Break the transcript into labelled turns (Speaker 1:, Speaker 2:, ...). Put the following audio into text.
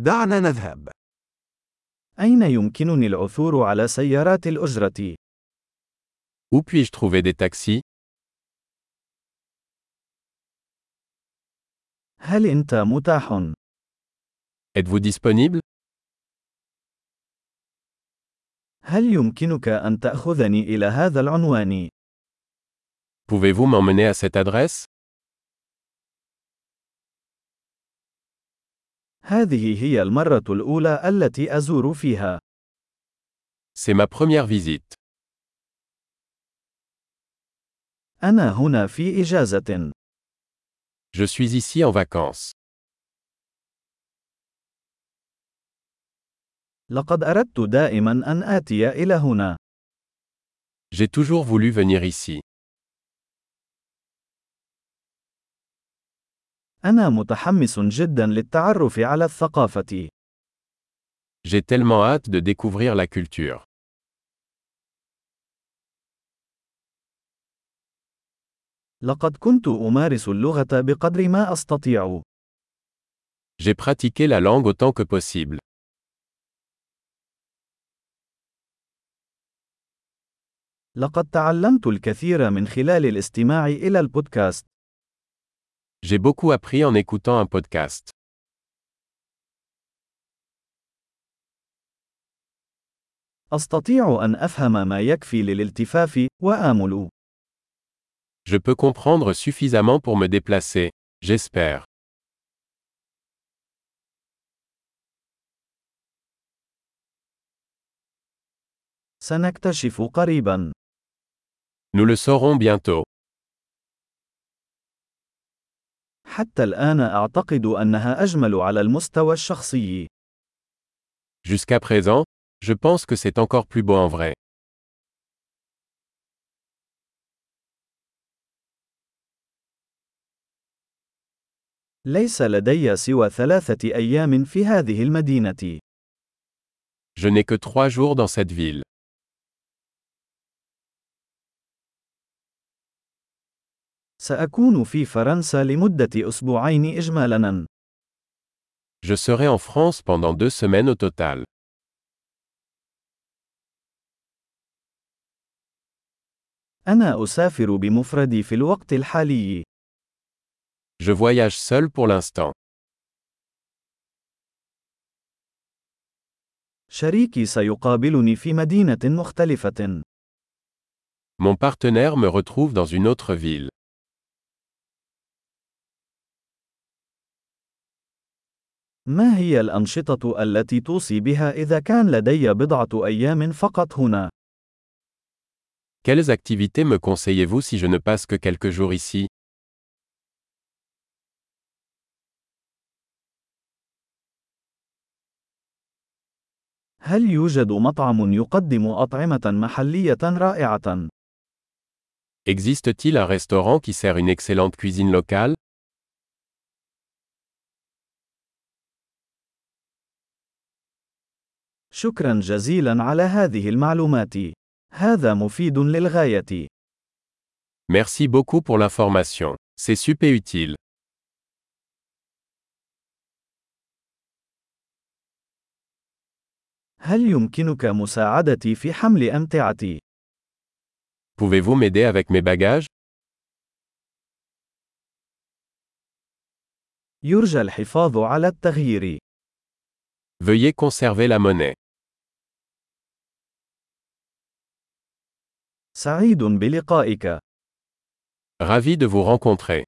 Speaker 1: دعنا نذهب.
Speaker 2: أين يمكنني العثور على سيارات الأجرة؟
Speaker 3: Où puis-je trouver des taxis
Speaker 2: هل أنت متاح؟
Speaker 3: Êtes-vous disponible
Speaker 2: هل يمكنك أن تأخذني إلى هذا العنوان؟
Speaker 3: Pouvez-vous m'emmener à cette adresse
Speaker 2: هذه هي المرة الأولى التي أزور فيها.
Speaker 3: C'est ma première visite.
Speaker 2: أنا هنا في إجازة.
Speaker 3: Je suis ici en vacances.
Speaker 2: لقد أردت دائما أن آتي إلى هنا.
Speaker 3: J'ai toujours voulu venir ici.
Speaker 2: أنا متحمس جدا للتعرف على الثقافة.
Speaker 3: J'ai tellement hâte de découvrir la culture.
Speaker 2: لقد كنت أمارس اللغة بقدر ما أستطيع.
Speaker 3: J'ai pratiqué la langue autant que possible.
Speaker 2: لقد تعلمت الكثير من خلال الاستماع إلى البودكاست.
Speaker 3: J'ai beaucoup appris en écoutant un podcast.
Speaker 2: أستطيع أن أفهم ما يكفي للالتفاف وآمل.
Speaker 3: Je peux comprendre suffisamment pour me déplacer. J'espère.
Speaker 2: سنكتشف قريبا.
Speaker 3: Nous le saurons bientôt.
Speaker 2: حتى الآن أعتقد أنها أجمل على المستوى الشخصي.
Speaker 3: Jusqu'à présent, je pense que c'est encore plus beau en vrai.
Speaker 2: ليس لدي سوى ثلاثة أيام في هذه المدينة.
Speaker 3: Je n'ai que trois jours dans cette ville.
Speaker 2: سأكون في فرنسا لمدة أسبوعين إجمالاً.
Speaker 3: Je serai en France pendant deux semaines au total.
Speaker 2: أنا أسافر بمفردي في الوقت الحالي.
Speaker 3: Je voyage seul pour l'instant.
Speaker 2: شريكي سيقابلني في مدينة مختلفة.
Speaker 3: Mon partenaire me retrouve dans une autre ville.
Speaker 2: ما هي الأنشطة التي توصي بها إذا كان لدي بضعة أيام فقط هنا؟
Speaker 3: Quelles activités me conseillez-vous si je ne passe que quelques jours ici
Speaker 2: هل يوجد مطعم يقدم أطعمة محلية رائعة؟
Speaker 3: Existe-t-il un restaurant qui sert une excellente cuisine locale
Speaker 2: شكرا جزيلا على هذه المعلومات. هذا مفيد للغاية.
Speaker 3: Merci beaucoup pour l'information. C'est super utile.
Speaker 2: هل يمكنك مساعدتي في حمل أمتعتي؟
Speaker 3: Pouvez-vous m'aider avec mes bagages
Speaker 2: يرجى الحفاظ على التغيير.
Speaker 3: Veuillez conserver la monnaie.
Speaker 2: سعيد بلقائك.
Speaker 3: Ravi de vous rencontrer.